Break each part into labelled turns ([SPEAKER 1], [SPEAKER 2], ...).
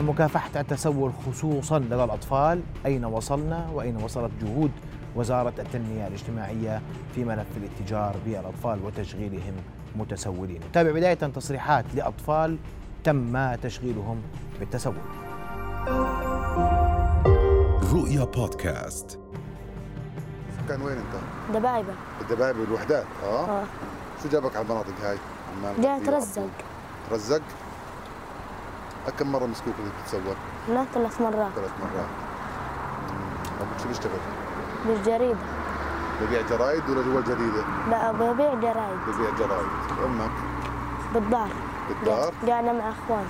[SPEAKER 1] مكافحة التسول خصوصا لدى الأطفال أين وصلنا وأين وصلت جهود وزارة التنمية الاجتماعية في ملف الاتجار بالأطفال وتشغيلهم متسولين تابع بداية تصريحات لأطفال تم تشغيلهم بالتسول
[SPEAKER 2] رؤيا بودكاست
[SPEAKER 3] كان وين انت؟
[SPEAKER 4] دبايبة
[SPEAKER 3] الدبايب والوحدات اه
[SPEAKER 4] اه
[SPEAKER 3] شو جابك على المناطق هاي؟ عمان
[SPEAKER 4] جاي
[SPEAKER 3] غربية،
[SPEAKER 4] اترزق
[SPEAKER 3] ترزق؟ كم مرة مسكوك اللي بتتسوق؟
[SPEAKER 4] هناك ثلاث مرات
[SPEAKER 3] ثلاث مرات مم. أبوك شو بيشتغل؟
[SPEAKER 4] بالجريدة
[SPEAKER 3] ببيع جرايد ولا جوا الجريدة؟
[SPEAKER 4] لا ببيع جرايد
[SPEAKER 3] ببيع جرايد أمك
[SPEAKER 4] بالدار
[SPEAKER 3] بالدار
[SPEAKER 4] قاعدة مع اخواني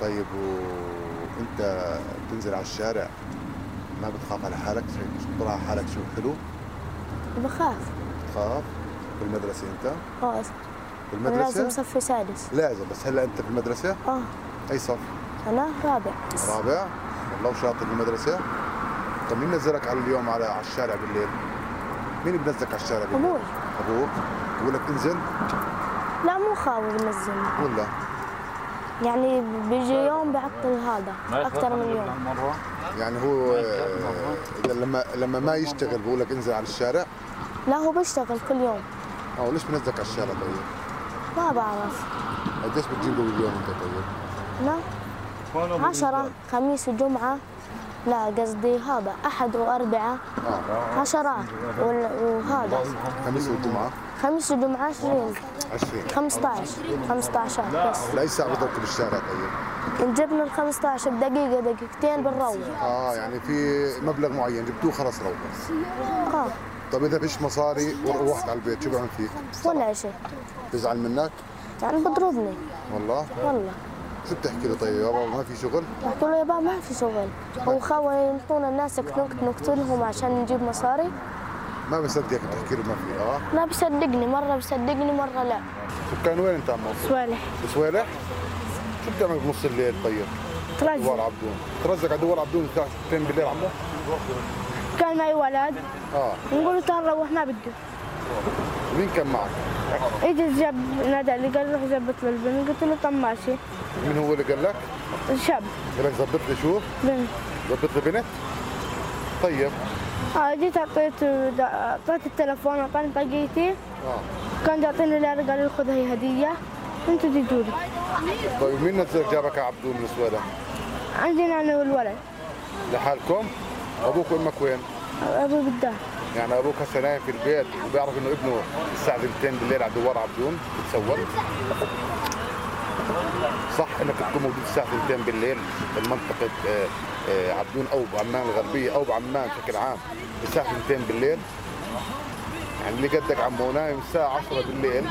[SPEAKER 3] طيب وأنت بتنزل على الشارع ما بتخاف على حالك شيء مش بتطلع على حالك شيء حلو
[SPEAKER 4] بخاف
[SPEAKER 3] بتخاف بالمدرسة أنت؟
[SPEAKER 4] اه انا لازم
[SPEAKER 3] بالمدرسة؟
[SPEAKER 4] صف سادس
[SPEAKER 3] لازم بس هلا أنت في المدرسة
[SPEAKER 4] اه
[SPEAKER 3] أي صف؟
[SPEAKER 4] انا رابع
[SPEAKER 3] رابع والله وشاطر بالمدرسة طب مين نزلك على اليوم على على الشارع بالليل؟ مين بنزلك على الشارع بالليل؟
[SPEAKER 4] ابوي
[SPEAKER 3] أبوك بقول لك انزل
[SPEAKER 4] لا مو خاوي بنزلني
[SPEAKER 3] ولا
[SPEAKER 4] يعني بيجي يوم بعطل هذا اكثر من يوم
[SPEAKER 3] يعني هو آه، إذا لما لما ما يشتغل بقول لك انزل على الشارع
[SPEAKER 4] لا هو بيشتغل كل يوم
[SPEAKER 3] أو ليش بنزلك على الشارع طيب؟
[SPEAKER 4] ما بعرف
[SPEAKER 3] قديش بتجيب له باليوم أنت طيب؟
[SPEAKER 4] لا عشرة خميس وجمعة لا قصدي هذا أحد وأربعة
[SPEAKER 3] آه
[SPEAKER 4] عشرات وال- وهذا
[SPEAKER 3] خميس والجمعة
[SPEAKER 4] خميس وجمعة عشرين
[SPEAKER 3] 20
[SPEAKER 4] 15 15 بس
[SPEAKER 3] لأي ساعة بضلك بالشارع طيب؟
[SPEAKER 4] جبنا ال 15 بدقيقة دقيقتين بنروح
[SPEAKER 3] آه يعني في مبلغ معين جبتوه خلاص روح
[SPEAKER 4] اه
[SPEAKER 3] طب إذا فيش مصاري وروحت على البيت شو بعمل فيك؟
[SPEAKER 4] ولا شيء
[SPEAKER 3] بزعل منك؟
[SPEAKER 4] يعني بضربني
[SPEAKER 3] والله
[SPEAKER 4] والله
[SPEAKER 3] شو بتحكي له طيب يا بابا ما في شغل؟
[SPEAKER 4] قلت له يابا ما في شغل هو خوي ينطونا الناس كنوك نقتلهم عشان نجيب مصاري
[SPEAKER 3] ما بصدقك بتحكي له ما في اه
[SPEAKER 4] لا بيصدقني مرة بيصدقني مرة لا
[SPEAKER 3] سكان وين انت عم
[SPEAKER 5] صالح
[SPEAKER 3] بسويلح؟ شو بتعمل بنص الليل طيب؟ دوار
[SPEAKER 5] ترزق
[SPEAKER 3] عبدون ترزق على دوار عبدون الساعة 2 بالليل عمو؟
[SPEAKER 5] كان معي ولد
[SPEAKER 3] اه
[SPEAKER 5] نقول له تعال روح ما بده
[SPEAKER 3] مين كان معك؟
[SPEAKER 5] اجى جاب نادى لي قال روح زبط له البنت قلت له طب ماشي
[SPEAKER 3] مين هو اللي قال لك؟
[SPEAKER 5] شاب
[SPEAKER 3] قال لك ظبط لي شو؟
[SPEAKER 5] بنت
[SPEAKER 3] ظبط لي بنت؟ طيب
[SPEAKER 5] اه
[SPEAKER 4] Ah,
[SPEAKER 5] جيت اعطيته دا- اعطيته التلفون اعطاني طاقيتي
[SPEAKER 3] اه
[SPEAKER 4] Kan
[SPEAKER 5] كان يعطيني ليره قال لي خذ هي هديه انت تجوا لي
[SPEAKER 3] طيب مين نزل جابك على عبدون من سويلح؟
[SPEAKER 5] عندنا انا
[SPEAKER 4] eh.
[SPEAKER 5] والولد
[SPEAKER 3] لحالكم؟ ابوك وامك وين؟
[SPEAKER 5] ابوي بالدار
[SPEAKER 3] يعني ابوك هسه نايم في البيت وبيعرف انه ابنه الساعه 2 بالليل على دوار عبدون بتسول صح انك تكون موجود الساعه 2 بالليل بمنطقه آه، آه، عبدون او بعمان الغربيه او بعمان بشكل عام الساعه 2 بالليل يعني اللي قدك عمو نايم الساعه 10 بالليل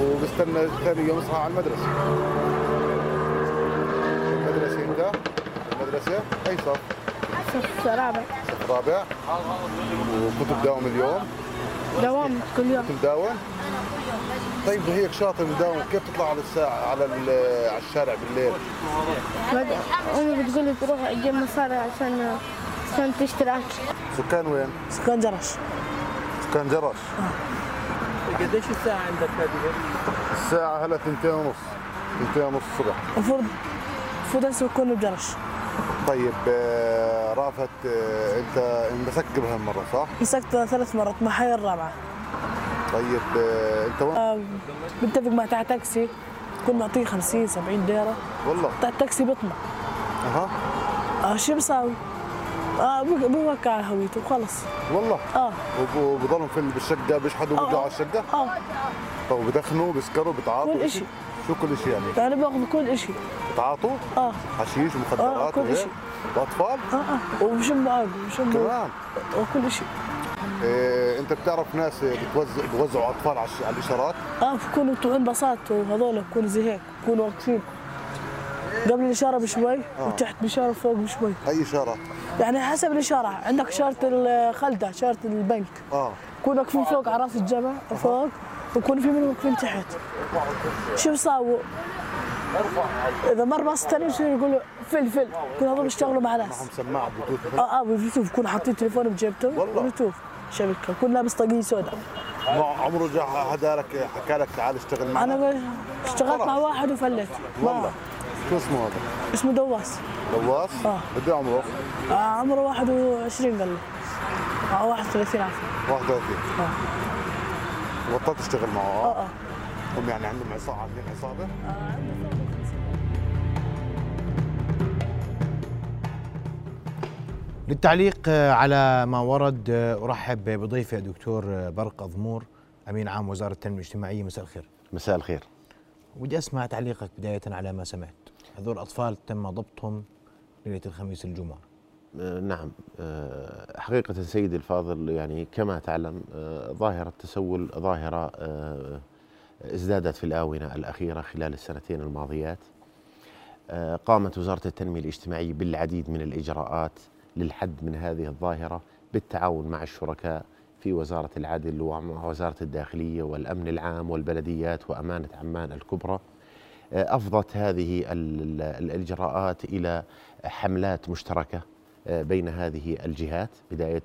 [SPEAKER 3] وبستنى ثاني يوم يصحى على المدرسه المدرسه انت المدرسه اي صف؟
[SPEAKER 5] صف رابع
[SPEAKER 3] صف رابع وكنت بداوم اليوم
[SPEAKER 5] دوام كل يوم
[SPEAKER 3] مداوم طيب ده هيك شاطر مداوم كيف تطلع على الساعة على ال- على الشارع بالليل؟
[SPEAKER 5] بعد- امي بتقول لي تروح تجيب مصاري عشان عشان تشتري اكل
[SPEAKER 3] سكان وين؟
[SPEAKER 6] سكان جرش آه.
[SPEAKER 3] سكان جرش
[SPEAKER 7] قديش الساعة عندك هذه؟
[SPEAKER 3] الساعة هلا تنتين ونص تنتين ونص الصبح
[SPEAKER 6] المفروض المفروض هسه بكون بجرش
[SPEAKER 3] طيب آه، رافت آه، انت انمسكت بهالمرة صح؟
[SPEAKER 6] مسكت ثلاث مرات ما هي الرابعه
[SPEAKER 3] طيب آه، انت وين؟
[SPEAKER 6] آه، بتفق مع تاع تاكسي كل معطيه 50 70 ليره
[SPEAKER 3] والله
[SPEAKER 6] تاع التاكسي بيطمع
[SPEAKER 3] اها
[SPEAKER 6] آه شو بساوي؟ آه بق- بوقع على هويته وخلص
[SPEAKER 3] والله
[SPEAKER 6] اه
[SPEAKER 3] وب- وبضلهم في ال- بالشقة بيشحدوا بيرجعوا على الشقة
[SPEAKER 6] اه
[SPEAKER 3] طب بدخنوا بيسكروا بتعاطوا
[SPEAKER 6] كل
[SPEAKER 3] إشي؟
[SPEAKER 6] إشي.
[SPEAKER 3] شو كل اشي يعني؟
[SPEAKER 6] يعني باخذ كل شيء
[SPEAKER 3] بتعاطوا؟
[SPEAKER 6] اه
[SPEAKER 3] حشيش
[SPEAKER 6] آه،
[SPEAKER 3] ومخدرات
[SPEAKER 6] كل
[SPEAKER 3] وهيك
[SPEAKER 6] إشي.
[SPEAKER 3] واطفال؟
[SPEAKER 6] اه اه وبشم اقل وبشم
[SPEAKER 3] كمان
[SPEAKER 6] آه. وكل شيء
[SPEAKER 3] إيه، انت بتعرف ناس بتوزع بوزعوا اطفال على الش- على الاشارات
[SPEAKER 6] اه بكونوا بتوعين بساط وهذول بكونوا زي هيك بكونوا واقفين قبل الاشاره بشوي وتحت بشاره وفوق بشوي
[SPEAKER 3] اي اشاره
[SPEAKER 6] يعني حسب الإشارة عندك إشارة الخلدة إشارة البنك
[SPEAKER 3] اه
[SPEAKER 6] يكونوا واقفين فوق على راس الجبل فوق ويكونوا في منهم واقفين تحت شو سووا؟ إذا مر باص ثاني شو يقولوا فلفل كل هذول بيشتغلوا مع ناس
[SPEAKER 3] معهم سماعه بلوتوث
[SPEAKER 6] اه اه باليوتيوب يكون حاطين تليفون بجيبته
[SPEAKER 3] والله.
[SPEAKER 6] بلوتوث شبكة يكون لابس طاقية سوداء
[SPEAKER 3] ما عمره جا حدا لك حكى لك تعال اشتغل معنا
[SPEAKER 6] أنا اشتغلت مع واحد وفلت ما-
[SPEAKER 3] والله شو اسمه هذا؟
[SPEAKER 6] اسمه دواس
[SPEAKER 3] دواس؟
[SPEAKER 6] آه.
[SPEAKER 3] قد إيه عمره؟
[SPEAKER 6] آه، عمره 21 قال لي آه، 31 عفوا
[SPEAKER 3] 31
[SPEAKER 6] آه.
[SPEAKER 3] بطلت تشتغل معه؟
[SPEAKER 6] اه اه
[SPEAKER 3] هم يعني عندهم عصابه عاملين عصابه؟
[SPEAKER 1] للتعليق آه، على ما ورد آه، ارحب بضيفي الدكتور آه، برق ضمور امين عام وزاره التنميه الاجتماعيه مساء الخير
[SPEAKER 8] مساء الخير
[SPEAKER 1] ودي اسمع تعليقك بدايه على ما سمعت هذول الاطفال تم ضبطهم ليله الخميس الجمعه
[SPEAKER 8] آه، نعم آه، حقيقة سيدي الفاضل يعني كما تعلم آه، ظاهرة التسول ظاهرة آه، ازدادت في الآونة الأخيرة خلال السنتين الماضيات آه، قامت وزارة التنمية الاجتماعية بالعديد من الإجراءات للحد من هذه الظاهرة بالتعاون مع الشركاء في وزارة العدل ومع وزارة الداخلية والأمن العام والبلديات وأمانة عمان الكبرى آه، أفضت هذه ال- ال- الإجراءات إلى حملات مشتركة آه، بين هذه الجهات بداية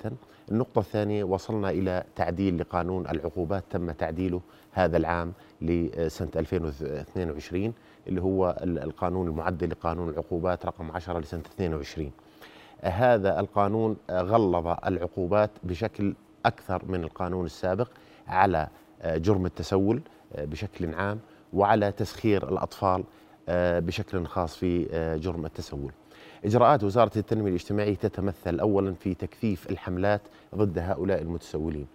[SPEAKER 8] النقطة الثانية وصلنا إلى تعديل لقانون العقوبات تم تعديله هذا العام لسنة 2022 اللي هو ال- القانون المعدل لقانون العقوبات رقم 10 لسنة 22 آه، هذا القانون آه، غلظ العقوبات بشكل أكثر من القانون السابق على آه، جرم التسول آه، بشكل عام وعلى تسخير الأطفال آه، بشكل خاص في آه، جرم التسول إجراءات وزارة التنمية الاجتماعية تتمثل أولا في تكثيف الحملات ضد هؤلاء المتسولين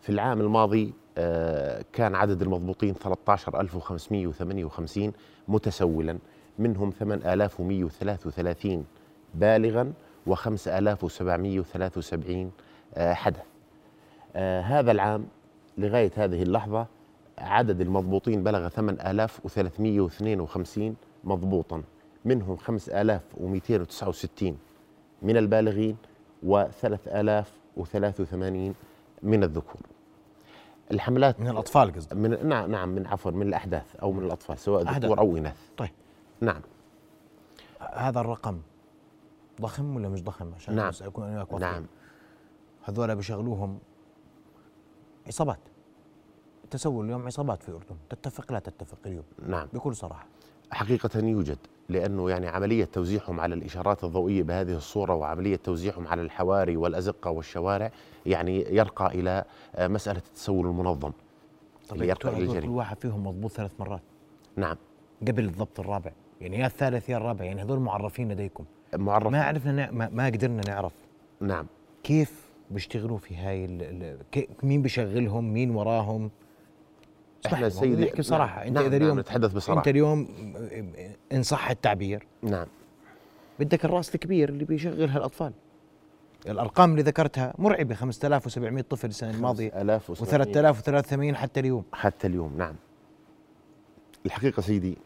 [SPEAKER 8] في العام الماضي آه، كان عدد المضبوطين 13558 متسولا منهم 8133 بالغا و5773 آه، حدث آه، هذا العام لغاية هذه اللحظة عدد المضبوطين بلغ 8352 مضبوطا منهم 5269 من البالغين و3083 من الذكور الحملات
[SPEAKER 1] من الاطفال قصدي
[SPEAKER 8] من نعم نعم من عفوا من الاحداث او من الاطفال سواء
[SPEAKER 1] أحداث.
[SPEAKER 8] ذكور او اناث
[SPEAKER 1] طيب
[SPEAKER 8] نعم
[SPEAKER 1] هذا الرقم ضخم ولا مش ضخم عشان
[SPEAKER 8] نعم.
[SPEAKER 1] بس اكون انا وياك واضحين.
[SPEAKER 8] نعم
[SPEAKER 1] هذول بيشغلوهم عصابات التسول اليوم عصابات في الاردن تتفق لا تتفق اليوم
[SPEAKER 8] نعم
[SPEAKER 1] بكل صراحه
[SPEAKER 8] حقيقة يوجد لأنه يعني عملية توزيعهم على الإشارات الضوئية بهذه الصورة وعملية توزيعهم على الحواري والأزقة والشوارع يعني يرقى إلى آه، مسألة التسول المنظم
[SPEAKER 1] طب
[SPEAKER 8] اللي
[SPEAKER 1] يا
[SPEAKER 8] يرقى
[SPEAKER 1] دكتور، هذول
[SPEAKER 8] للجريمة.
[SPEAKER 1] كل واحد فيهم مضبوط ثلاث مرات
[SPEAKER 8] نعم
[SPEAKER 1] قبل الضبط الرابع يعني يا الثالث يا الرابع يعني هذول معرفين لديكم
[SPEAKER 8] معرف
[SPEAKER 1] ما عرفنا نع... ما, ما قدرنا نعرف
[SPEAKER 8] نعم
[SPEAKER 1] كيف بيشتغلوا في هاي ال... ال... كي... مين بيشغلهم مين وراهم اسمح لي،
[SPEAKER 8] إحنا
[SPEAKER 1] والله
[SPEAKER 8] سيدي-
[SPEAKER 1] نحكي صراحه
[SPEAKER 8] نعم،
[SPEAKER 1] انت
[SPEAKER 8] نعم،
[SPEAKER 1] اذا
[SPEAKER 8] نعم،
[SPEAKER 1] اليوم
[SPEAKER 8] نتحدث بصراحة.
[SPEAKER 1] انت اليوم ان صح التعبير
[SPEAKER 8] نعم
[SPEAKER 1] بدك الراس الكبير اللي بيشغل هالاطفال الارقام اللي ذكرتها مرعبه 5700 طفل السنه الماضيه
[SPEAKER 8] 5700
[SPEAKER 1] و3380 حتى اليوم
[SPEAKER 8] حتى اليوم نعم الحقيقة سيدي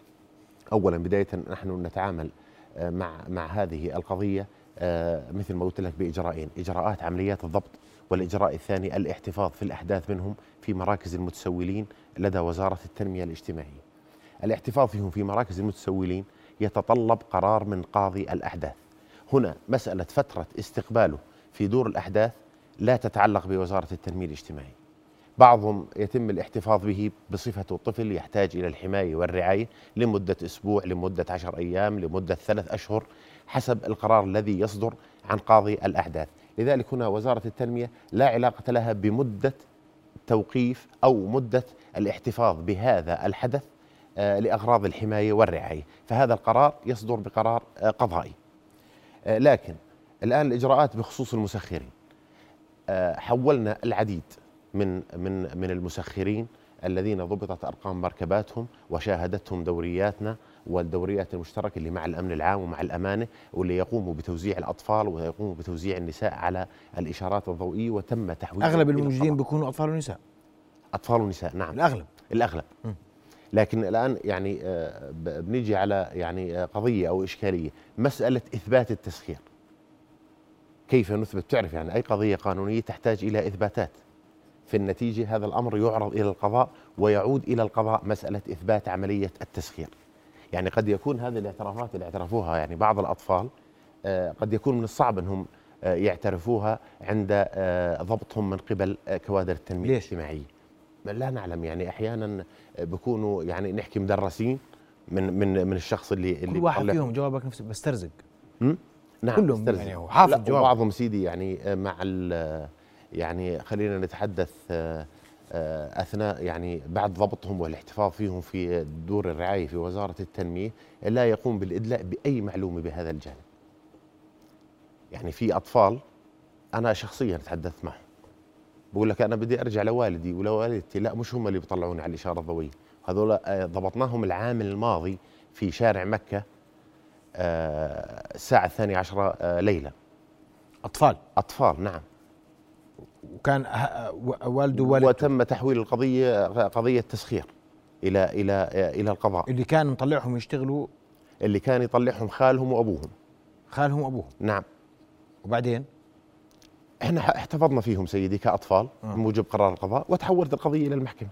[SPEAKER 8] أولا بداية نحن نتعامل آه، مع مع هذه القضية آه، مثل ما قلت لك بإجراءين إجراءات عمليات الضبط والإجراء الثاني الاحتفاظ في الأحداث منهم في مراكز المتسولين لدى وزارة التنمية الاجتماعية الاحتفاظ فيهم في مراكز المتسولين يتطلب قرار من قاضي الأحداث هنا مسألة فترة استقباله في دور الأحداث لا تتعلق بوزارة التنمية الاجتماعية بعضهم يتم الاحتفاظ به بصفته طفل يحتاج إلى الحماية والرعاية لمدة أسبوع لمدة عشر أيام لمدة ثلاث أشهر حسب القرار الذي يصدر عن قاضي الأحداث لذلك هنا وزارة التنمية لا علاقة لها بمدة توقيف أو مدة الاحتفاظ بهذا الحدث آه، لأغراض الحماية والرعاية فهذا القرار يصدر بقرار آه، قضائي آه، لكن الآن الإجراءات بخصوص المسخرين آه، حولنا العديد من من من المسخرين الذين ضبطت ارقام مركباتهم وشاهدتهم دورياتنا والدوريات المشتركه اللي مع الامن العام ومع الامانه واللي يقوموا بتوزيع الاطفال ويقوموا بتوزيع النساء على الاشارات الضوئيه وتم تحويل
[SPEAKER 1] اغلب الموجودين بيكونوا اطفال ونساء
[SPEAKER 8] اطفال ونساء نعم
[SPEAKER 1] الاغلب
[SPEAKER 8] الاغلب
[SPEAKER 1] مم.
[SPEAKER 8] لكن الان يعني آه، ب- بنيجي على يعني آه، قضيه او اشكاليه مساله اثبات التسخير كيف نثبت تعرف يعني اي قضيه قانونيه تحتاج الى اثباتات في النتيجه هذا الامر يعرض الى القضاء ويعود الى القضاء مساله اثبات عمليه التسخير يعني قد يكون هذه الاعترافات اللي اعترفوها يعني بعض الاطفال آه، قد يكون من الصعب انهم آه، يعترفوها عند آه، ضبطهم من قبل آه، كوادر التنميه
[SPEAKER 1] ليش؟
[SPEAKER 8] آه، الاجتماعيه لا نعلم يعني احيانا بكونوا يعني نحكي مدرسين من من من الشخص اللي اللي
[SPEAKER 1] كل واحد
[SPEAKER 8] بيطلع-
[SPEAKER 1] فيهم جوابك نفسه بسترزق
[SPEAKER 8] نعم
[SPEAKER 1] كلهم
[SPEAKER 8] استرزق.
[SPEAKER 1] يعني هو حافظ
[SPEAKER 8] لا،
[SPEAKER 1] جواب.
[SPEAKER 8] وبعضهم سيدي يعني آه، مع ال- يعني خلينا نتحدث آه، آه، اثناء يعني بعد ضبطهم والاحتفاظ فيهم في دور الرعايه في وزاره التنميه لا يقوم بالادلاء باي معلومه بهذا الجانب. يعني في اطفال انا شخصيا تحدثت معهم بقول لك انا بدي ارجع لوالدي ولوالدتي لا مش هم اللي بيطلعوني على الاشاره الضوئيه هذول آه، ضبطناهم العام الماضي في شارع مكه آه، الساعه الثانية عشرة آه، ليلا
[SPEAKER 1] اطفال
[SPEAKER 8] أطفال نعم
[SPEAKER 1] وكان ه- و- والده ووالدته
[SPEAKER 8] وتم تحويل القضية قضية تسخير إلى إلى آه، إلى القضاء
[SPEAKER 1] اللي كان مطلعهم يشتغلوا
[SPEAKER 8] اللي كان يطلعهم خالهم وأبوهم
[SPEAKER 1] خالهم وابوهم
[SPEAKER 8] نعم
[SPEAKER 1] وبعدين
[SPEAKER 8] احنا ح- احتفظنا فيهم سيدي كأطفال
[SPEAKER 1] آه.
[SPEAKER 8] بموجب قرار القضاء وتحولت القضية إلى المحكمة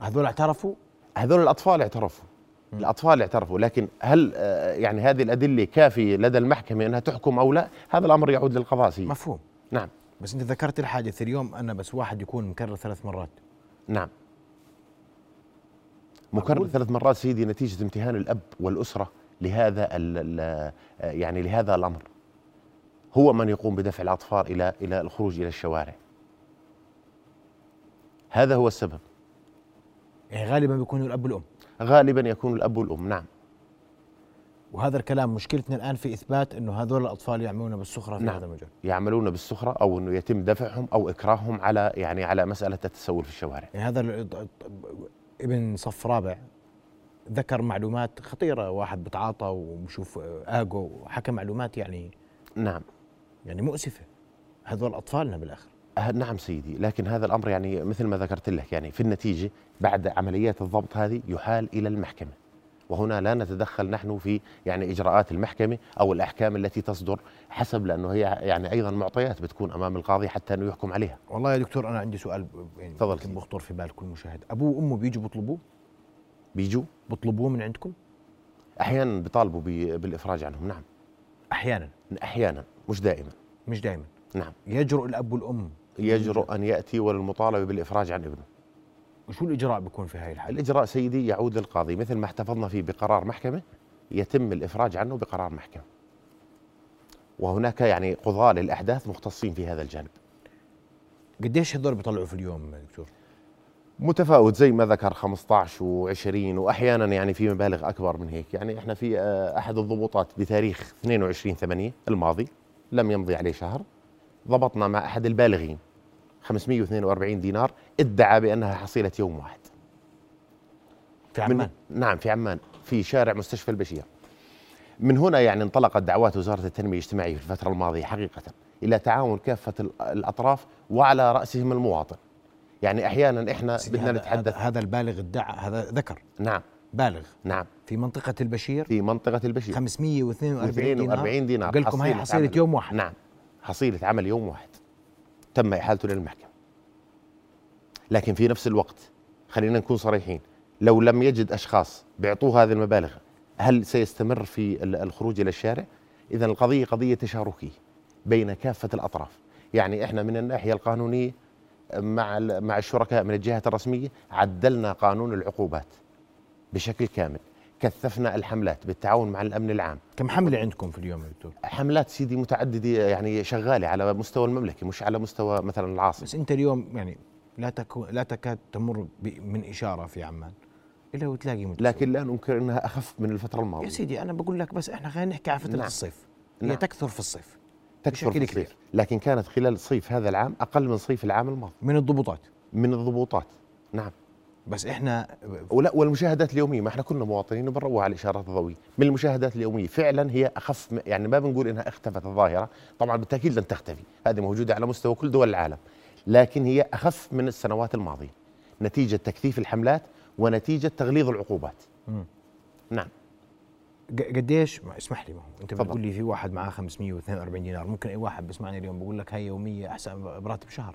[SPEAKER 1] هذول اعترفوا
[SPEAKER 8] هذول الأطفال اعترفوا الأطفال اعترفوا لكن هل آه، يعني هذه الأدلة كافية لدى المحكمة أنها تحكم أو لا هذا الأمر يعود للقضاء سيدي
[SPEAKER 1] مفهوم
[SPEAKER 8] نعم
[SPEAKER 1] بس انت ذكرت الحادث اليوم انا بس واحد يكون مكرر ثلاث مرات
[SPEAKER 8] نعم مكرر ثلاث مرات سيدي نتيجة امتهان الأب والأسرة لهذا ال ال يعني لهذا الأمر هو من يقوم بدفع الأطفال إلى إلى الخروج إلى الشوارع هذا هو السبب
[SPEAKER 1] يعني غالبا بيكونوا الاب والام
[SPEAKER 8] غالبا يكون الأب والأم نعم
[SPEAKER 1] وهذا الكلام مشكلتنا الان في اثبات انه هذول الاطفال يعملون بالسخره في
[SPEAKER 8] نعم.
[SPEAKER 1] هذا المجال
[SPEAKER 8] يعملون بالسخرة أو أنه يتم دفعهم أو إكراههم على يعني على مسألة التسول في الشوارع
[SPEAKER 1] يعني هذا ال- ابن صف رابع ذكر معلومات خطيره واحد بتعاطى وبشوف اجو وحكى معلومات يعني
[SPEAKER 8] نعم
[SPEAKER 1] يعني مؤسفه هذول اطفالنا بالاخر
[SPEAKER 8] أه، نعم سيدي لكن هذا الامر يعني مثل ما ذكرت لك يعني في النتيجه بعد عمليات الضبط هذه يحال الى المحكمه وهنا لا نتدخل نحن في يعني اجراءات المحكمه او الاحكام التي تصدر حسب لانه هي يعني ايضا معطيات بتكون امام القاضي حتى انه يحكم عليها
[SPEAKER 1] والله يا دكتور انا عندي سؤال ب- يعني
[SPEAKER 8] تفضل
[SPEAKER 1] يمكن
[SPEAKER 8] سيدي.
[SPEAKER 1] بخطر في بال كل مشاهد ابوه وامه بيجوا بيطلبوه
[SPEAKER 8] بيجوا
[SPEAKER 1] بيطلبوه من عندكم
[SPEAKER 8] احيانا بيطالبوا بي- بالافراج عنهم نعم
[SPEAKER 1] احيانا
[SPEAKER 8] احيانا مش دائما
[SPEAKER 1] مش دائما
[SPEAKER 8] نعم
[SPEAKER 1] يجرؤ الاب والام
[SPEAKER 8] يجرؤ ان ياتي وللمطالبه بالافراج عن ابنه
[SPEAKER 1] وشو الاجراء بيكون في هاي الحاله
[SPEAKER 8] الاجراء سيدي يعود للقاضي مثل ما احتفظنا فيه بقرار محكمه يتم الافراج عنه بقرار محكمه وهناك يعني قضاة للأحداث مختصين في هذا الجانب
[SPEAKER 1] قديش هذول بيطلعوا في اليوم يا دكتور
[SPEAKER 8] متفاوت زي ما ذكر 15 و20 وأحيانا يعني في مبالغ أكبر من هيك يعني إحنا في آه، أحد الضبوطات بتاريخ 22 8 الماضي لم يمضي عليه شهر ضبطنا مع أحد البالغين 542 دينار ادعى بأنها حصيلة يوم واحد
[SPEAKER 1] في
[SPEAKER 8] من-
[SPEAKER 1] عمان
[SPEAKER 8] نعم في عمان في شارع مستشفى البشير من هنا يعني انطلقت دعوات وزارة التنمية الاجتماعية في الفترة الماضية حقيقة إلى تعاون كافة ال- الأطراف وعلى رأسهم المواطن يعني أحيانا إحنا
[SPEAKER 1] سيدي
[SPEAKER 8] بدنا
[SPEAKER 1] هذا-
[SPEAKER 8] نتحدث
[SPEAKER 1] هذا- هذا البالغ ادعى هذا ذكر
[SPEAKER 8] نعم
[SPEAKER 1] بالغ
[SPEAKER 8] نعم
[SPEAKER 1] في منطقه البشير
[SPEAKER 8] في منطقة البشير
[SPEAKER 1] 542
[SPEAKER 8] 42 دينار
[SPEAKER 1] قال لكم هاي حصيله
[SPEAKER 8] عمل.
[SPEAKER 1] يوم واحد
[SPEAKER 8] نعم حصيلة عمل يوم واحد تم إحالته للمحكمة لكن في نفس الوقت خلينا نكون صريحين لو لم يجد أشخاص بيعطوه هذه المبالغ هل سيستمر في ال- الخروج إلى الشارع؟ إذا القضية قضية تشاركية بين كافة الأطراف يعني إحنا من الناحية القانونية مع ال- مع الشركاء من الجهات الرسمية عدلنا قانون العقوبات بشكل كامل كثفنا الحملات بالتعاون مع الأمن العام
[SPEAKER 1] كم حمله عندكم في اليوم يا دكتور
[SPEAKER 8] حملات سيدي متعدده يعني شغاله على مستوى المملكه مش على مستوى مثلا العاصمه
[SPEAKER 1] بس انت اليوم يعني لا تكو لا تكاد تمر ب- من اشاره في عمان الا وتلاقي متسول.
[SPEAKER 8] لكن لا ننكر انها اخف من الفتره الماضيه
[SPEAKER 1] يا سيدي انا بقول لك بس احنا خلينا نحكي على فتره
[SPEAKER 8] نعم.
[SPEAKER 1] الصيف هي
[SPEAKER 8] نعم.
[SPEAKER 1] تكثر في الصيف
[SPEAKER 8] تكثر في
[SPEAKER 1] بشكل
[SPEAKER 8] الصيف
[SPEAKER 1] كبير.
[SPEAKER 8] لكن كانت خلال صيف هذا العام اقل من صيف العام الماضي
[SPEAKER 1] من الضبوطات
[SPEAKER 8] من الضبوطات نعم
[SPEAKER 1] بس احنا
[SPEAKER 8] ولا والمشاهدات اليوميه ما احنا كنا مواطنين وبنروح على الاشارات الضوئيه من المشاهدات اليوميه فعلا هي اخف م- يعني ما بنقول انها اختفت الظاهره طبعا بالتاكيد لن تختفي هذه موجوده على مستوى كل دول العالم لكن هي اخف من السنوات الماضيه نتيجه تكثيف الحملات ونتيجه تغليظ العقوبات
[SPEAKER 1] مم.
[SPEAKER 8] نعم
[SPEAKER 1] ق- قديش ما اسمح لي ما هو انت
[SPEAKER 8] تفضل.
[SPEAKER 1] بتقول لي في واحد معاه 542 دينار ممكن اي واحد بيسمعني اليوم بقول لك هاي يوميه احسن براتب شهر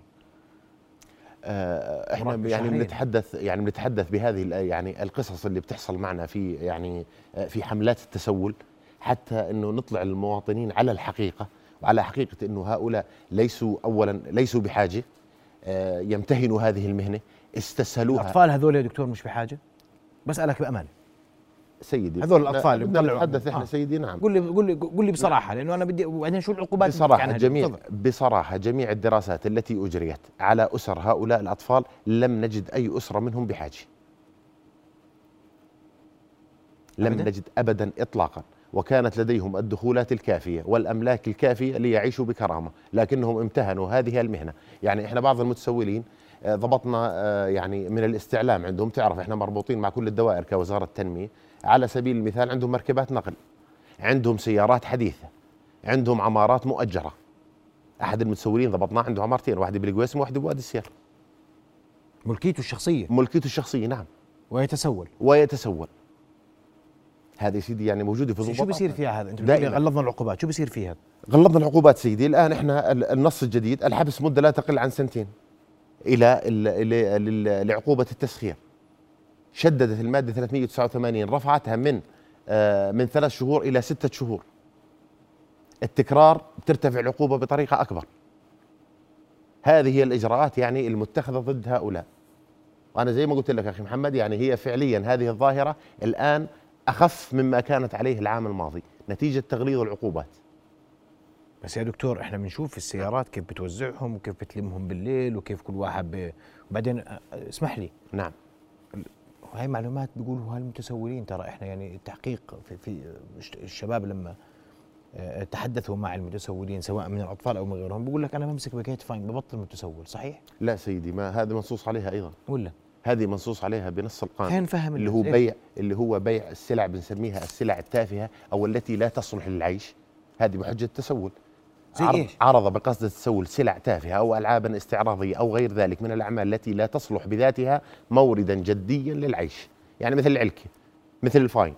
[SPEAKER 8] آه، احنا
[SPEAKER 1] مربي
[SPEAKER 8] يعني
[SPEAKER 1] شهرين.
[SPEAKER 8] بنتحدث يعني بنتحدث بهذه ال- يعني القصص اللي بتحصل معنا في يعني آه، في حملات التسول حتى انه نطلع المواطنين على الحقيقه وعلى حقيقه انه هؤلاء ليسوا اولا ليسوا بحاجه آه، يمتهنوا هذه المهنه استسهلوها
[SPEAKER 1] الاطفال هذول يا دكتور مش بحاجه بسالك بامانه
[SPEAKER 8] سيدي
[SPEAKER 1] هذول الأطفال اللي
[SPEAKER 8] بدنا
[SPEAKER 1] بيطلعوا
[SPEAKER 8] نتحدث احنا
[SPEAKER 1] آه.
[SPEAKER 8] سيدي نعم
[SPEAKER 1] قول لي قول لي قول لي بصراحه لانه انا بدي وبعدين شو العقوبات اللي بتحكي
[SPEAKER 8] بصراحة
[SPEAKER 1] عنها؟
[SPEAKER 8] جميع
[SPEAKER 1] تفضل.
[SPEAKER 8] بصراحة جميع الدراسات التي أجريت على أسر هؤلاء الأطفال لم نجد أي أسرة منهم بحاجة لم
[SPEAKER 1] أبداً؟
[SPEAKER 8] نجد أبدا إطلاقا وكانت لديهم الدخولات الكافية والأملاك الكافية ليعيشوا بكرامة لكنهم امتهنوا هذه المهنة يعني إحنا بعض المتسولين آه، ضبطنا آه، يعني من الاستعلام عندهم تعرف إحنا مربوطين مع كل الدوائر كوزارة التنمية على سبيل المثال عندهم مركبات نقل عندهم سيارات حديثة عندهم عمارات مؤجرة أحد المتسولين ضبطناه عنده عمارتين واحدة بالقويسم وواحدة بوادي السير
[SPEAKER 1] ملكيته الشخصيه
[SPEAKER 8] ملكيته الشخصية نعم
[SPEAKER 1] ويتسول
[SPEAKER 8] ويتسول هذا يا سيدي يعني موجودة في
[SPEAKER 1] شو
[SPEAKER 8] ضباط
[SPEAKER 1] بيصير فيها هذا انت بتقول لي
[SPEAKER 8] دائماً.
[SPEAKER 1] غلظنا العقوبات شو بيصير فيها
[SPEAKER 8] غلظنا العقوبات سيدي الان احنا ال- النص الجديد الحبس مده لا تقل عن سنتين الى ال- إلى- لل- لعقوبه التسخير شددت الماده 389 رفعتها من آه، من ثلاث شهور الى سته شهور التكرار بترتفع العقوبه بطريقه اكبر هذه هي الاجراءات يعني المتخذه ضد هؤلاء وانا زي ما قلت لك اخي محمد يعني هي فعليا هذه الظاهره الان اخف مما كانت عليه العام الماضي نتيجه تغليظ العقوبات
[SPEAKER 1] بس يا دكتور احنا بنشوف في السيارات كيف بتوزعهم وكيف بتلمهم بالليل وكيف كل واحد ب... وبعدين اه، اسمح لي
[SPEAKER 8] نعم
[SPEAKER 1] هاي معلومات بيقولوا هالمتسولين ترى احنا يعني التحقيق في, في الش- الشباب لما اه، تحدثوا مع المتسولين سواء من الاطفال او من غيرهم بيقول لك انا بمسك باكيت فاين ببطل متسول صحيح
[SPEAKER 8] لا سيدي ما هذا منصوص عليها ايضا
[SPEAKER 1] ولا
[SPEAKER 8] هذه منصوص عليها بنص
[SPEAKER 1] خلينا
[SPEAKER 8] القانون
[SPEAKER 1] نفهم
[SPEAKER 8] اللي هو
[SPEAKER 1] الناس. إيه؟
[SPEAKER 8] بيع اللي هو بيع السلع بنسميها السلع التافهه او التي لا تصلح للعيش هذه بحجه التسول
[SPEAKER 1] زي
[SPEAKER 8] عرض,
[SPEAKER 1] إيش؟
[SPEAKER 8] عرض بقصد التسول سلع تافهه او العابا استعراضيه او غير ذلك من الاعمال التي لا تصلح بذاتها موردا جديا للعيش يعني مثل العلكه مثل الفاين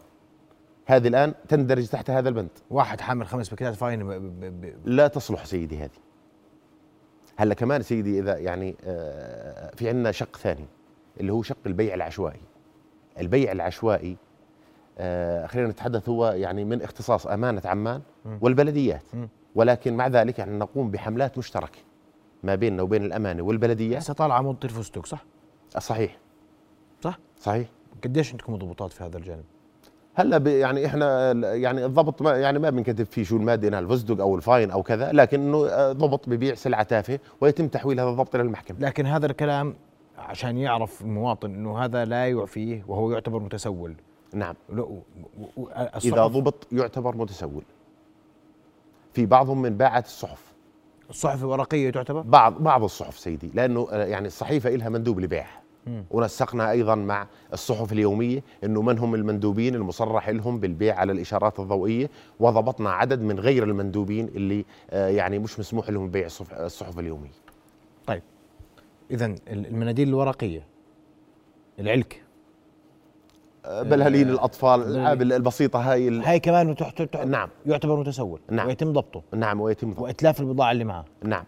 [SPEAKER 8] هذه الان تندرج تحت هذا البند
[SPEAKER 1] واحد حامل خمس باكيتات فاين ب... ب... ب...
[SPEAKER 8] لا تصلح سيدي هذه هلا كمان سيدي اذا يعني آه، في عندنا شق ثاني اللي هو شق البيع العشوائي البيع العشوائي آه، خلينا نتحدث هو يعني من اختصاص امانه عمان
[SPEAKER 1] مم.
[SPEAKER 8] والبلديات
[SPEAKER 1] مم.
[SPEAKER 8] ولكن مع ذلك يعني نقوم بحملات مشتركه ما بيننا وبين الامانه والبلديات
[SPEAKER 1] هسه طالعه موطي الفستق صح؟
[SPEAKER 8] صحيح
[SPEAKER 1] صح.
[SPEAKER 8] صحيح
[SPEAKER 1] قديش عندكم ضبطات في هذا الجانب؟
[SPEAKER 8] هلا ب- يعني احنا ال- يعني الضبط ما يعني ما بنكتب فيه شو الماده انها الفزدق او الفاين او كذا لكن انه آه، ضبط ببيع سلعه تافهه ويتم تحويل هذا الضبط الى المحكمه
[SPEAKER 1] لكن هذا الكلام عشان يعرف المواطن انه هذا لا يعفيه وهو يعتبر متسول
[SPEAKER 8] نعم
[SPEAKER 1] لا، و- و- و-
[SPEAKER 8] اذا
[SPEAKER 1] الصحف,
[SPEAKER 8] ضبط يعتبر متسول في بعضهم من باعت الصحف
[SPEAKER 1] الصحف الورقيه تعتبر
[SPEAKER 8] بعض بعض الصحف سيدي لانه آه، يعني الصحيفه إلها مندوب لبيعها
[SPEAKER 1] مم.
[SPEAKER 8] ونسقنا ايضا مع الصحف اليوميه انه من هم المندوبين المصرح لهم بالبيع على الاشارات الضوئيه وضبطنا عدد من غير المندوبين اللي آه، يعني مش مسموح لهم بيع الصف- الصحف اليوميه
[SPEAKER 1] اذا طيب. المناديل الورقيه العلك
[SPEAKER 8] بلهلين الاطفال
[SPEAKER 1] بلهلين.
[SPEAKER 8] الالعاب البسيطه آه، هاي ال...
[SPEAKER 1] هاي كمان تحت تحت
[SPEAKER 8] نعم
[SPEAKER 1] يعتبر متسول
[SPEAKER 8] نعم.
[SPEAKER 1] ويتم ضبطه
[SPEAKER 8] نعم ويتم ضبط.
[SPEAKER 1] واتلاف البضاعه اللي معه
[SPEAKER 8] نعم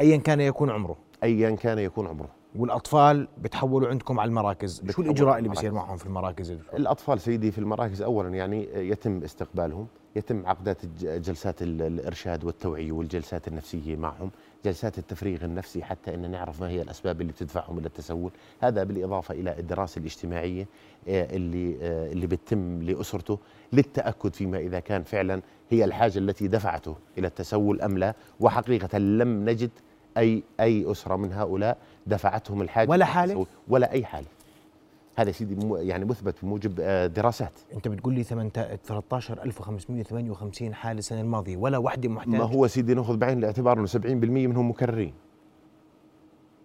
[SPEAKER 1] ايا كان يكون عمره
[SPEAKER 8] ايا كان يكون عمره
[SPEAKER 1] والاطفال بتحولوا عندكم على المراكز شو
[SPEAKER 8] بتحولوا
[SPEAKER 1] الاجراء
[SPEAKER 8] على
[SPEAKER 1] اللي بيصير
[SPEAKER 8] المراكز.
[SPEAKER 1] معهم في المراكز اللي
[SPEAKER 8] الاطفال سيدي في المراكز اولا يعني يتم استقبالهم يتم عقدات الج- جلسات ال- الارشاد والتوعيه والجلسات النفسيه معهم جلسات التفريغ النفسي حتى ان نعرف ما هي الاسباب اللي بتدفعهم الى التسول هذا بالاضافه الى الدراسه الاجتماعيه آه، اللي آه، اللي بتتم لاسرته للتاكد فيما اذا كان فعلا هي الحاجه التي دفعته الى التسول ام لا وحقيقه لم نجد اي اي اسره من هؤلاء دفعتهم الحاجه
[SPEAKER 1] ولا
[SPEAKER 8] إلى
[SPEAKER 1] حالة؟
[SPEAKER 8] التسول، ولا اي حاله هذا يا سيدي مو- يعني مثبت بموجب آه، دراسات
[SPEAKER 1] انت بتقول لي 13558 حاله السنه الماضيه ولا وحده محتاجه
[SPEAKER 8] ما هو سيدي ناخذ بعين الاعتبار انه 70% منهم مكررين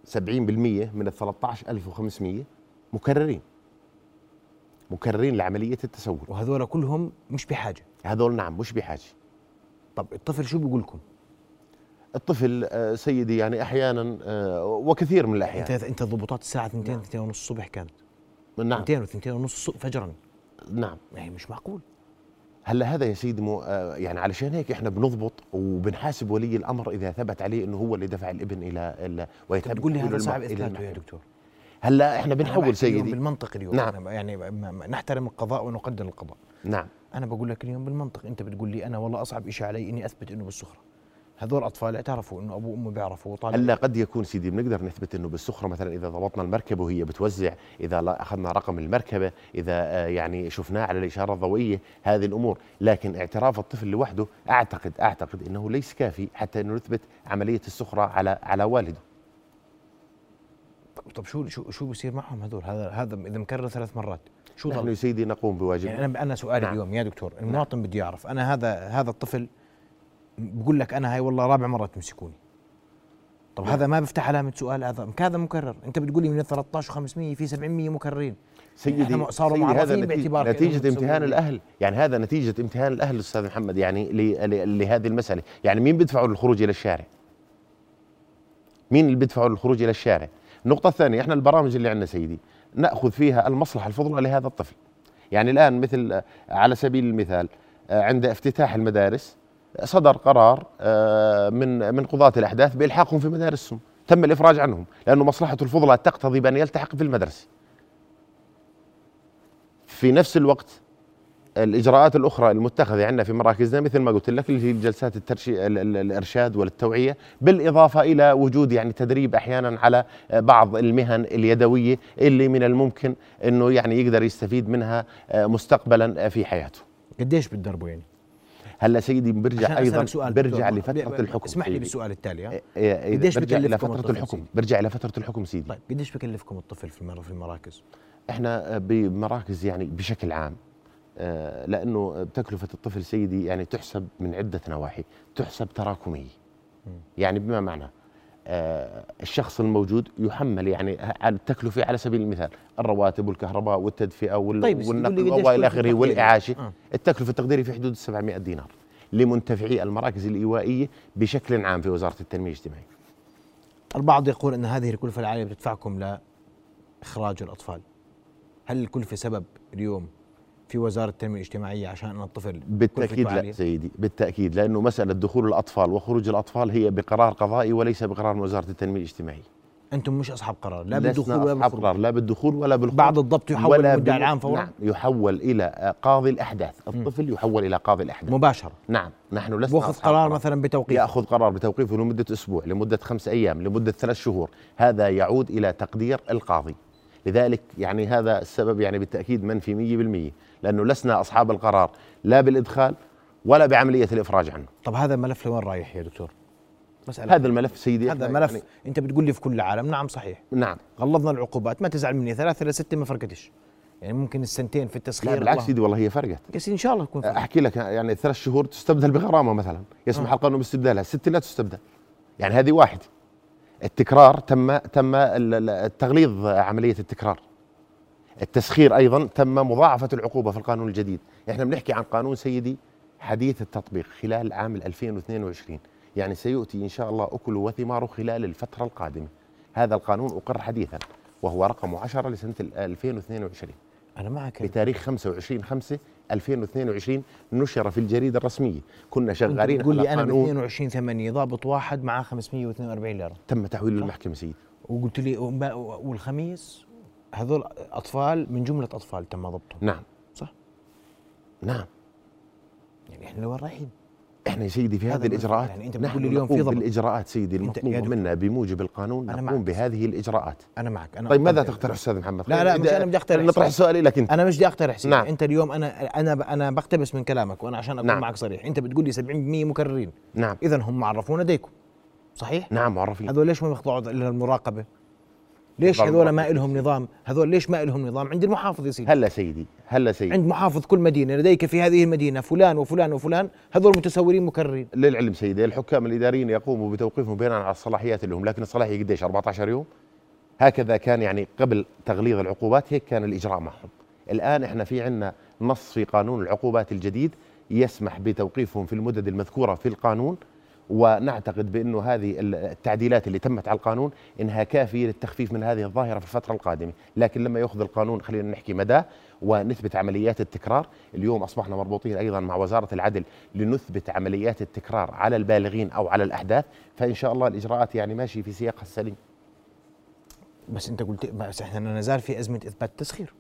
[SPEAKER 8] 70% من ال 13500 مكررين مكررين لعمليه التسول
[SPEAKER 1] وهذول كلهم مش بحاجه
[SPEAKER 8] هذول نعم مش بحاجه
[SPEAKER 1] طب الطفل شو بيقول لكم
[SPEAKER 8] الطفل آه، سيدي يعني احيانا آه، وكثير من
[SPEAKER 1] انت
[SPEAKER 8] الاحيان
[SPEAKER 1] انت ضبطات الساعه 2 2 ونص الصبح كانت
[SPEAKER 8] نعم
[SPEAKER 1] 2 و2 ونص فجرا
[SPEAKER 8] نعم
[SPEAKER 1] يعني مش معقول
[SPEAKER 8] هلا هذا يا سيدي مو آه، يعني علشان هيك احنا بنضبط وبنحاسب ولي الامر اذا ثبت عليه انه هو اللي دفع الابن الى الى
[SPEAKER 1] انت
[SPEAKER 8] ويتم
[SPEAKER 1] بتقول لي
[SPEAKER 8] تحويله
[SPEAKER 1] هذا
[SPEAKER 8] الم-
[SPEAKER 1] صعب
[SPEAKER 8] إلى
[SPEAKER 1] اثباته يا
[SPEAKER 8] المحكمة.
[SPEAKER 1] دكتور
[SPEAKER 8] هلا احنا
[SPEAKER 1] أنا بحكي
[SPEAKER 8] بنحول
[SPEAKER 1] اليوم
[SPEAKER 8] سيدي
[SPEAKER 1] بالمنطق اليوم
[SPEAKER 8] نعم.
[SPEAKER 1] نعم. يعني ما- ما- نحترم القضاء ونقدر القضاء
[SPEAKER 8] نعم
[SPEAKER 1] انا بقول لك اليوم بالمنطق انت بتقول لي انا والله اصعب شيء علي اني اثبت انه بالسخره هذول الاطفال اعترفوا انه ابوه وامه بيعرفوا وطالعين
[SPEAKER 8] هلا قد يكون سيدي بنقدر نثبت انه بالسخره مثلا اذا ضبطنا المركبه وهي بتوزع اذا لا- اخذنا رقم المركبه اذا آه، يعني شفناه على الاشاره الضوئيه هذه الامور لكن اعتراف الطفل لوحده اعتقد اعتقد انه ليس كافي حتى انه نثبت عمليه السخره على على والده
[SPEAKER 1] طب, طب شو شو شو بصير معهم هذول هذا هذا اذا مكرر ثلاث مرات شو
[SPEAKER 8] نحن
[SPEAKER 1] ضل
[SPEAKER 8] يا سيدي نقوم بواجبنا
[SPEAKER 1] يعني انا انا سؤالي
[SPEAKER 8] نعم.
[SPEAKER 1] اليوم يا دكتور المواطن بده يعرف انا هذا هذا الطفل بقول لك انا هاي والله رابع مره تمسكوني طب
[SPEAKER 8] نعم.
[SPEAKER 1] هذا ما بيفتح علامه سؤال هذا هذا مكرر انت بتقول لي من ال 13 و500 في 700 مكررين
[SPEAKER 8] سيدي
[SPEAKER 1] إحنا صاروا
[SPEAKER 8] سيدي هذا
[SPEAKER 1] معرفين
[SPEAKER 8] نتيجة,
[SPEAKER 1] باعتبار كأنهم
[SPEAKER 8] نتيجة امتهان
[SPEAKER 1] متسولين.
[SPEAKER 8] الاهل يعني هذا نتيجه امتهان الاهل استاذ محمد يعني ل- ل- لهذه المساله يعني مين بيدفعوا للخروج الى الشارع مين اللي بيدفعوا للخروج الى الشارع النقطه الثانيه احنا البرامج اللي عندنا سيدي ناخذ فيها المصلحه الفضلى لهذا الطفل يعني الان مثل آه، على سبيل المثال آه، عند افتتاح المدارس آه، صدر قرار آه، من من قضاة الاحداث بالحاقهم في مدارسهم تم الافراج عنهم لانه مصلحته الفضلى تقتضي بان يلتحق في المدرسه في نفس الوقت الاجراءات الاخرى المتخذه عندنا في مراكزنا مثل ما قلت لك اللي هي جلسات الترشي ال- ال- الارشاد والتوعيه بالاضافه الى وجود يعني تدريب احيانا على بعض المهن اليدويه اللي من الممكن انه يعني يقدر يستفيد منها آه، مستقبلا آه، في حياته.
[SPEAKER 1] قديش بتدربوا يعني
[SPEAKER 8] هلا سيدي برجع
[SPEAKER 1] عشان
[SPEAKER 8] ايضا
[SPEAKER 1] أسألك سؤال
[SPEAKER 8] برجع
[SPEAKER 1] دكتور.
[SPEAKER 8] لفتره
[SPEAKER 1] ب- ب-
[SPEAKER 8] الحكم
[SPEAKER 1] اسمح لي
[SPEAKER 8] سيدي.
[SPEAKER 1] بالسؤال التالي
[SPEAKER 8] آه،
[SPEAKER 1] ها؟
[SPEAKER 8] آه، إذا
[SPEAKER 1] قديش
[SPEAKER 8] برجع
[SPEAKER 1] بكلفكم
[SPEAKER 8] لفتره
[SPEAKER 1] الطفل
[SPEAKER 8] الحكم
[SPEAKER 1] سيدي؟
[SPEAKER 8] برجع لفتره الحكم سيدي
[SPEAKER 1] طيب قديش بكلفكم الطفل في المر- في المراكز؟
[SPEAKER 8] احنا بمراكز يعني بشكل عام آه، لانه تكلفه الطفل سيدي يعني تحسب من عده نواحي تحسب تراكميه يعني بما معنى آه، الشخص الموجود يحمل يعني ه- على التكلفه على سبيل المثال الرواتب والكهرباء والتدفئه وال-
[SPEAKER 1] طيب، بس تقول
[SPEAKER 8] والنقل
[SPEAKER 1] لي قديش
[SPEAKER 8] والى
[SPEAKER 1] كلفة
[SPEAKER 8] اخره
[SPEAKER 1] تقديرية؟
[SPEAKER 8] والاعاشه
[SPEAKER 1] آه.
[SPEAKER 8] التكلفه التقديريه في حدود 700 دينار لمنتفعي المراكز الايوائيه بشكل عام في وزاره التنميه الاجتماعيه
[SPEAKER 1] البعض يقول ان هذه الكلفه العاليه بتدفعكم لاخراج الاطفال. هل الكلفه سبب اليوم في وزاره التنميه الاجتماعيه عشان ان الطفل
[SPEAKER 8] بالتاكيد
[SPEAKER 1] كلفته
[SPEAKER 8] لا
[SPEAKER 1] عالية؟
[SPEAKER 8] سيدي بالتاكيد لانه مساله دخول الاطفال وخروج الاطفال هي بقرار قضائي وليس بقرار من وزاره التنميه الاجتماعيه
[SPEAKER 1] انتم مش اصحاب قرار لا
[SPEAKER 8] لسنا
[SPEAKER 1] بالدخول ولا
[SPEAKER 8] أصحاب
[SPEAKER 1] بالخروج
[SPEAKER 8] قرار لا بالدخول ولا بالخروج
[SPEAKER 1] بعد الضبط يحول
[SPEAKER 8] ولا
[SPEAKER 1] المدعي
[SPEAKER 8] بال-
[SPEAKER 1] العام فورا
[SPEAKER 8] نعم يحول الى آه، قاضي الاحداث الطفل يحول الى قاضي الاحداث
[SPEAKER 1] مباشره
[SPEAKER 8] نعم نحن لسنا
[SPEAKER 1] واخذ
[SPEAKER 8] أصحاب
[SPEAKER 1] قرار مثلا بتوقيف
[SPEAKER 8] ياخذ قرار بتوقيفه لمده اسبوع لمده خمس ايام لمده ثلاث شهور هذا يعود الى تقدير القاضي لذلك يعني هذا السبب يعني بالتاكيد منفي 100% لانه لسنا اصحاب القرار لا بالادخال ولا بعمليه الافراج عنه
[SPEAKER 1] طب هذا الملف لوين رايح يا دكتور؟ مساله
[SPEAKER 8] هذا الملف سيدي
[SPEAKER 1] هذا
[SPEAKER 8] إحنا
[SPEAKER 1] ملف
[SPEAKER 8] يعني-
[SPEAKER 1] انت بتقول لي في كل العالم نعم صحيح
[SPEAKER 8] نعم
[SPEAKER 1] غلظنا العقوبات ما تزعل مني ثلاثة إلى ستة ما فرقتش يعني ممكن السنتين في التسخير
[SPEAKER 8] لا بالعكس
[SPEAKER 1] الله-
[SPEAKER 8] سيدي والله هي فرقت
[SPEAKER 1] يس إن شاء الله تكون فرقت.
[SPEAKER 8] احكي لك يعني ثلاث شهور تستبدل بغرامه مثلا يسمح القانون باستبدالها ست لا تستبدل يعني هذه واحد التكرار تم تم ال- ال- التغليظ عمليه التكرار التسخير ايضا تم مضاعفه العقوبه في القانون الجديد احنا بنحكي عن قانون سيدي حديث التطبيق خلال عام 2022 يعني سيؤتي ان شاء الله اكله وثماره خلال الفتره القادمه هذا القانون اقر حديثا وهو رقم 10 لسنه ال- 2022
[SPEAKER 1] أنا معك يا
[SPEAKER 8] بتاريخ 25 5 2022 نشر في الجريدة الرسمية كنا
[SPEAKER 1] أنت
[SPEAKER 8] شغالين
[SPEAKER 1] بتقول
[SPEAKER 8] على
[SPEAKER 1] لي أنا ب
[SPEAKER 8] قانون
[SPEAKER 1] 22 8 ضابط واحد معاه 542 ليرة
[SPEAKER 8] تم تحويله للمحكمة سيدي
[SPEAKER 1] وقلت لي وما- والخميس هذول أطفال من جملة أطفال تم ضبطهم
[SPEAKER 8] نعم
[SPEAKER 1] صح
[SPEAKER 8] نعم
[SPEAKER 1] يعني إحنا لوين رايحين؟
[SPEAKER 8] احنا يا سيدي في
[SPEAKER 1] هذا
[SPEAKER 8] هذه
[SPEAKER 1] المسؤول.
[SPEAKER 8] الإجراءات
[SPEAKER 1] يعني أنت
[SPEAKER 8] نحن
[SPEAKER 1] بتقول لي اليوم في
[SPEAKER 8] نقوم
[SPEAKER 1] ضبط.
[SPEAKER 8] بالإجراءات سيدي
[SPEAKER 1] أنت- يا
[SPEAKER 8] المطلوبة
[SPEAKER 1] دكتور.
[SPEAKER 8] منا بموجب القانون
[SPEAKER 1] أنا
[SPEAKER 8] نقوم
[SPEAKER 1] معك.
[SPEAKER 8] بهذه الإجراءات
[SPEAKER 1] أنا معك أنا
[SPEAKER 8] طيب ماذا
[SPEAKER 1] أقترح.
[SPEAKER 8] تقترح أستاذ محمد؟
[SPEAKER 1] لا، لا، مش
[SPEAKER 8] إذا-
[SPEAKER 1] أنا بدي أقترح
[SPEAKER 8] نطرح
[SPEAKER 1] سؤال.
[SPEAKER 8] السؤال لك أنت
[SPEAKER 1] أنا مش بدي أقترح سيدي
[SPEAKER 8] نعم.
[SPEAKER 1] أنت اليوم أنا أنا ب- أنا بقتبس من كلامك وأنا عشان أكون
[SPEAKER 8] نعم.
[SPEAKER 1] معك صريح أنت بتقول لي 70% مكررين
[SPEAKER 8] نعم
[SPEAKER 1] إذا هم معرفون لديكم صحيح؟
[SPEAKER 8] نعم معرفين
[SPEAKER 1] هذول ليش ما بيخضعوا الى المراقبه؟ ليش
[SPEAKER 8] يخضعوا
[SPEAKER 1] هذول ما
[SPEAKER 8] للمراقبة.
[SPEAKER 1] لهم نظام؟ هذول ليش ما لهم نظام؟ عند المحافظ يا سيدي
[SPEAKER 8] هلا سيدي هلا سيدي
[SPEAKER 1] عند محافظ كل مدينه لديك في هذه المدينه فلان وفلان وفلان هذول متسورين مكررين
[SPEAKER 8] للعلم سيدي الحكام الاداريين يقوموا بتوقيفهم بناء على الصلاحيات اللي هم لكن الصلاحيه قديش 14 يوم هكذا كان يعني قبل تغليظ العقوبات هيك كان الاجراء معهم الان احنا في عندنا نص في قانون العقوبات الجديد يسمح بتوقيفهم في المدد المذكوره في القانون ونعتقد بانه هذه التعديلات اللي تمت على القانون انها كافيه للتخفيف من هذه الظاهره في الفتره القادمه، لكن لما ياخذ القانون خلينا نحكي مداه ونثبت عمليات التكرار، اليوم اصبحنا مربوطين ايضا مع وزاره العدل لنثبت عمليات التكرار على البالغين او على الاحداث، فان شاء الله الاجراءات يعني ماشيه في سياقها السليم.
[SPEAKER 1] بس انت قلت بس احنا لا نزال في ازمه اثبات التسخير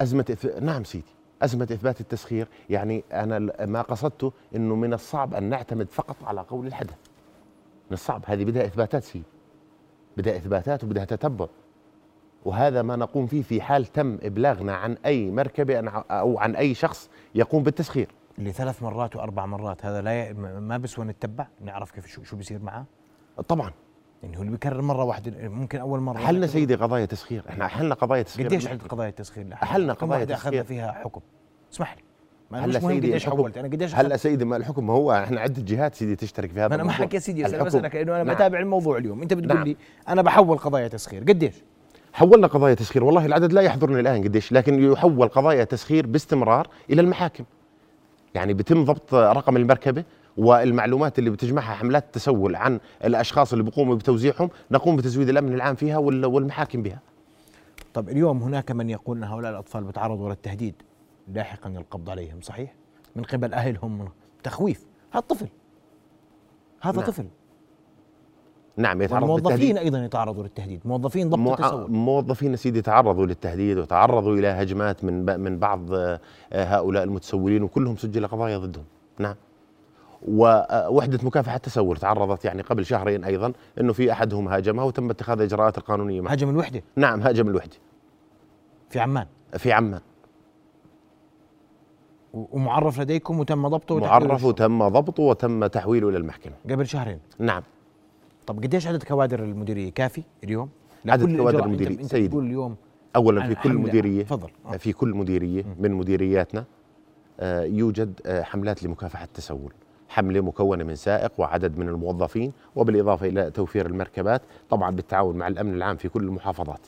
[SPEAKER 8] ازمه إث... نعم سيدي أزمة إثبات التسخير يعني أنا ل- ما قصدته أنه من الصعب أن نعتمد فقط على قول الحدث من الصعب هذه بدها إثباتات سي بدها إثباتات وبدها تتبع وهذا ما نقوم فيه في حال تم إبلاغنا عن أي مركبة أن- أو عن أي شخص يقوم بالتسخير
[SPEAKER 1] اللي ثلاث مرات واربع مرات هذا لا ي... ما ما بسوى نتبع نعرف كيف شو شو بيصير معاه
[SPEAKER 8] طبعا
[SPEAKER 1] يعني هو اللي بيكرر مره واحده ممكن اول مره
[SPEAKER 8] حلنا سيدي قضايا تسخير احنا حلنا قضايا تسخير
[SPEAKER 1] قديش
[SPEAKER 8] بالمحكمة.
[SPEAKER 1] عدد قضايا التسخير اللي
[SPEAKER 8] أحلنا
[SPEAKER 1] كم
[SPEAKER 8] قضايا
[SPEAKER 1] واحدة
[SPEAKER 8] تسخير.
[SPEAKER 1] اخذنا فيها حكم اسمح لي ما
[SPEAKER 8] هلا
[SPEAKER 1] هلا مهم
[SPEAKER 8] سيدي
[SPEAKER 1] قديش
[SPEAKER 8] الحكم-
[SPEAKER 1] حولت انا قديش
[SPEAKER 8] هلا سيدي ما الحكم ما هو احنا عده جهات سيدي تشترك في هذا
[SPEAKER 1] ما انا ما
[SPEAKER 8] الموضوع.
[SPEAKER 1] حكيت سيدي انا
[SPEAKER 8] الحكم-
[SPEAKER 1] بسالك انه انا
[SPEAKER 8] نعم.
[SPEAKER 1] بتابع الموضوع اليوم انت بتقول
[SPEAKER 8] نعم.
[SPEAKER 1] لي انا بحول قضايا تسخير قديش
[SPEAKER 8] حولنا قضايا تسخير والله العدد لا يحضرني الان قديش لكن يحول قضايا تسخير باستمرار الى المحاكم يعني بتم ضبط رقم المركبه والمعلومات اللي بتجمعها حملات التسول عن الاشخاص اللي بيقوموا بتوزيعهم نقوم بتزويد الامن العام فيها وال- والمحاكم بها
[SPEAKER 1] طب اليوم هناك من يقول ان هؤلاء الاطفال بتعرضوا للتهديد لاحقا القبض عليهم صحيح من قبل اهلهم من تخويف هذا طفل هذا
[SPEAKER 8] نعم.
[SPEAKER 1] طفل
[SPEAKER 8] نعم يتعرض للتهديد
[SPEAKER 1] الموظفين ايضا يتعرضوا للتهديد موظفين ضبط
[SPEAKER 8] مو-
[SPEAKER 1] التسول
[SPEAKER 8] موظفين سيدي تعرضوا للتهديد وتعرضوا الى هجمات من ب- من بعض آه، آه، هؤلاء المتسولين وكلهم سجل قضايا ضدهم نعم ووحدة مكافحة التسول تعرضت يعني قبل شهرين أيضا أنه في أحدهم هاجمها وتم اتخاذ إجراءات القانونية معه
[SPEAKER 1] هجم الوحده
[SPEAKER 8] نعم هاجم الوحدة
[SPEAKER 1] في عمان
[SPEAKER 8] في عمان
[SPEAKER 1] و- ومعرف لديكم وتم ضبطه وتحريره
[SPEAKER 8] معرف
[SPEAKER 1] للشرطة.
[SPEAKER 8] وتم ضبطه وتم تحويله إلى المحكمة
[SPEAKER 1] قبل شهرين
[SPEAKER 8] نعم
[SPEAKER 1] طب قديش عدد كوادر المديريه كافي اليوم؟
[SPEAKER 8] عدد
[SPEAKER 1] لكل
[SPEAKER 8] كوادر
[SPEAKER 1] إجراء. أنت-
[SPEAKER 8] المديرية.
[SPEAKER 1] انت
[SPEAKER 8] سيدي.
[SPEAKER 1] بتقول اليوم
[SPEAKER 8] اولا
[SPEAKER 1] عن
[SPEAKER 8] في كل
[SPEAKER 1] حملة.
[SPEAKER 8] مديريه
[SPEAKER 1] تفضل. آه.
[SPEAKER 8] في كل مديريه من مديرياتنا آه، يوجد آه، حملات لمكافحه التسول حمله مكونه من سائق وعدد من الموظفين وبالاضافه الى توفير المركبات طبعا بالتعاون مع الامن العام في كل المحافظات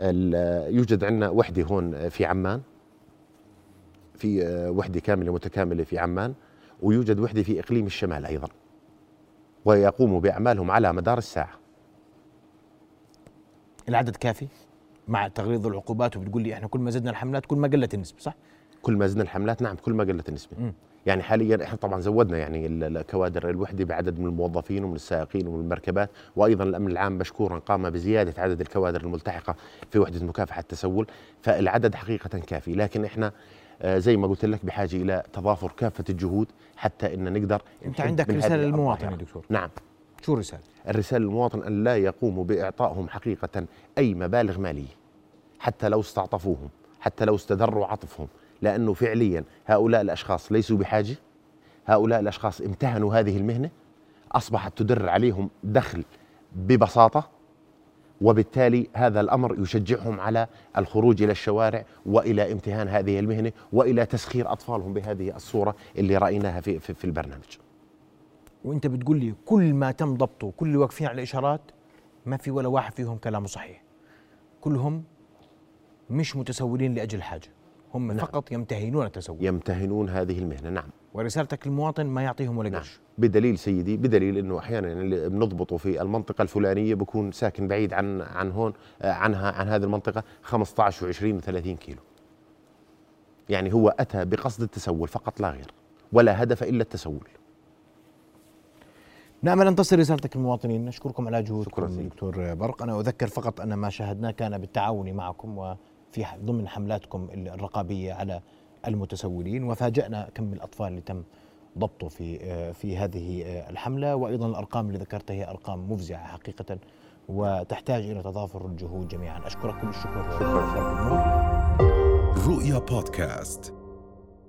[SPEAKER 8] ال- آه، يوجد عندنا وحده هون آه، في عمان في آه، وحده كامله متكامله في عمان ويوجد وحده في اقليم الشمال ايضا ويقوموا باعمالهم على مدار الساعه
[SPEAKER 1] العدد كافي مع تغليظ العقوبات وبتقول لي احنا كل ما زدنا الحملات كل ما قلت النسبه صح؟
[SPEAKER 8] كل ما زدنا الحملات نعم كل ما قلت النسبه
[SPEAKER 1] مم.
[SPEAKER 8] يعني حاليا احنا طبعا زودنا يعني ال- ال- كوادر الوحده بعدد من الموظفين ومن السائقين ومن المركبات وايضا الامن العام مشكورا قام بزياده عدد الكوادر الملتحقه في وحده مكافحه التسول فالعدد حقيقه كافي لكن احنا آه، زي ما قلت لك بحاجه الى تضافر كافه الجهود حتى ان نقدر
[SPEAKER 1] انت
[SPEAKER 8] نحد
[SPEAKER 1] عندك
[SPEAKER 8] من هذه
[SPEAKER 1] رساله للمواطن يا
[SPEAKER 8] الظاهرة.
[SPEAKER 1] دكتور
[SPEAKER 8] نعم
[SPEAKER 1] شو الرساله؟
[SPEAKER 8] الرسالة للمواطن أن لا يقوموا بإعطائهم حقيقة أي مبالغ مالية حتى لو استعطفوهم حتى لو استدروا عطفهم لأنه فعليا هؤلاء الأشخاص ليسوا بحاجة هؤلاء الأشخاص امتهنوا هذه المهنة أصبحت تدر عليهم دخل ببساطة وبالتالي هذا الأمر يشجعهم على الخروج إلى الشوارع وإلى امتهان هذه المهنة وإلى تسخير أطفالهم بهذه الصورة اللي رأيناها في, في, في البرنامج
[SPEAKER 1] وانت بتقول لي كل ما تم ضبطه كل اللي واقفين على الاشارات ما في ولا واحد فيهم كلامه صحيح كلهم مش متسولين لاجل حاجه هم
[SPEAKER 8] نعم.
[SPEAKER 1] فقط يمتهنون التسول
[SPEAKER 8] يمتهنون هذه المهنة نعم
[SPEAKER 1] ورسالتك للمواطن ما يعطيهم ولا
[SPEAKER 8] نعم
[SPEAKER 1] قرش
[SPEAKER 8] بدليل سيدي بدليل انه احيانا يعني اللي بنضبطه في المنطقه الفلانيه بكون ساكن بعيد عن عن هون آه، عنها عن هذه المنطقه 15 و20 و30 كيلو يعني هو اتى بقصد التسول فقط لا غير ولا هدف الا التسول
[SPEAKER 1] نامل ان تصل نعم، رسالتك للمواطنين نشكركم على جهودكم
[SPEAKER 8] شكراً سيدي.
[SPEAKER 1] دكتور برق انا اذكر فقط ان ما شاهدناه كان بالتعاون معكم وفي ح- ضمن حملاتكم الرقابيه على المتسولين وفاجأنا كم الاطفال اللي تم ضبطه في آه، في هذه آه، الحمله وايضا الارقام اللي ذكرتها هي ارقام مفزعه حقيقه وتحتاج الى تضافر الجهود جميعا اشكركم الشكر شكرا
[SPEAKER 2] رؤيا بودكاست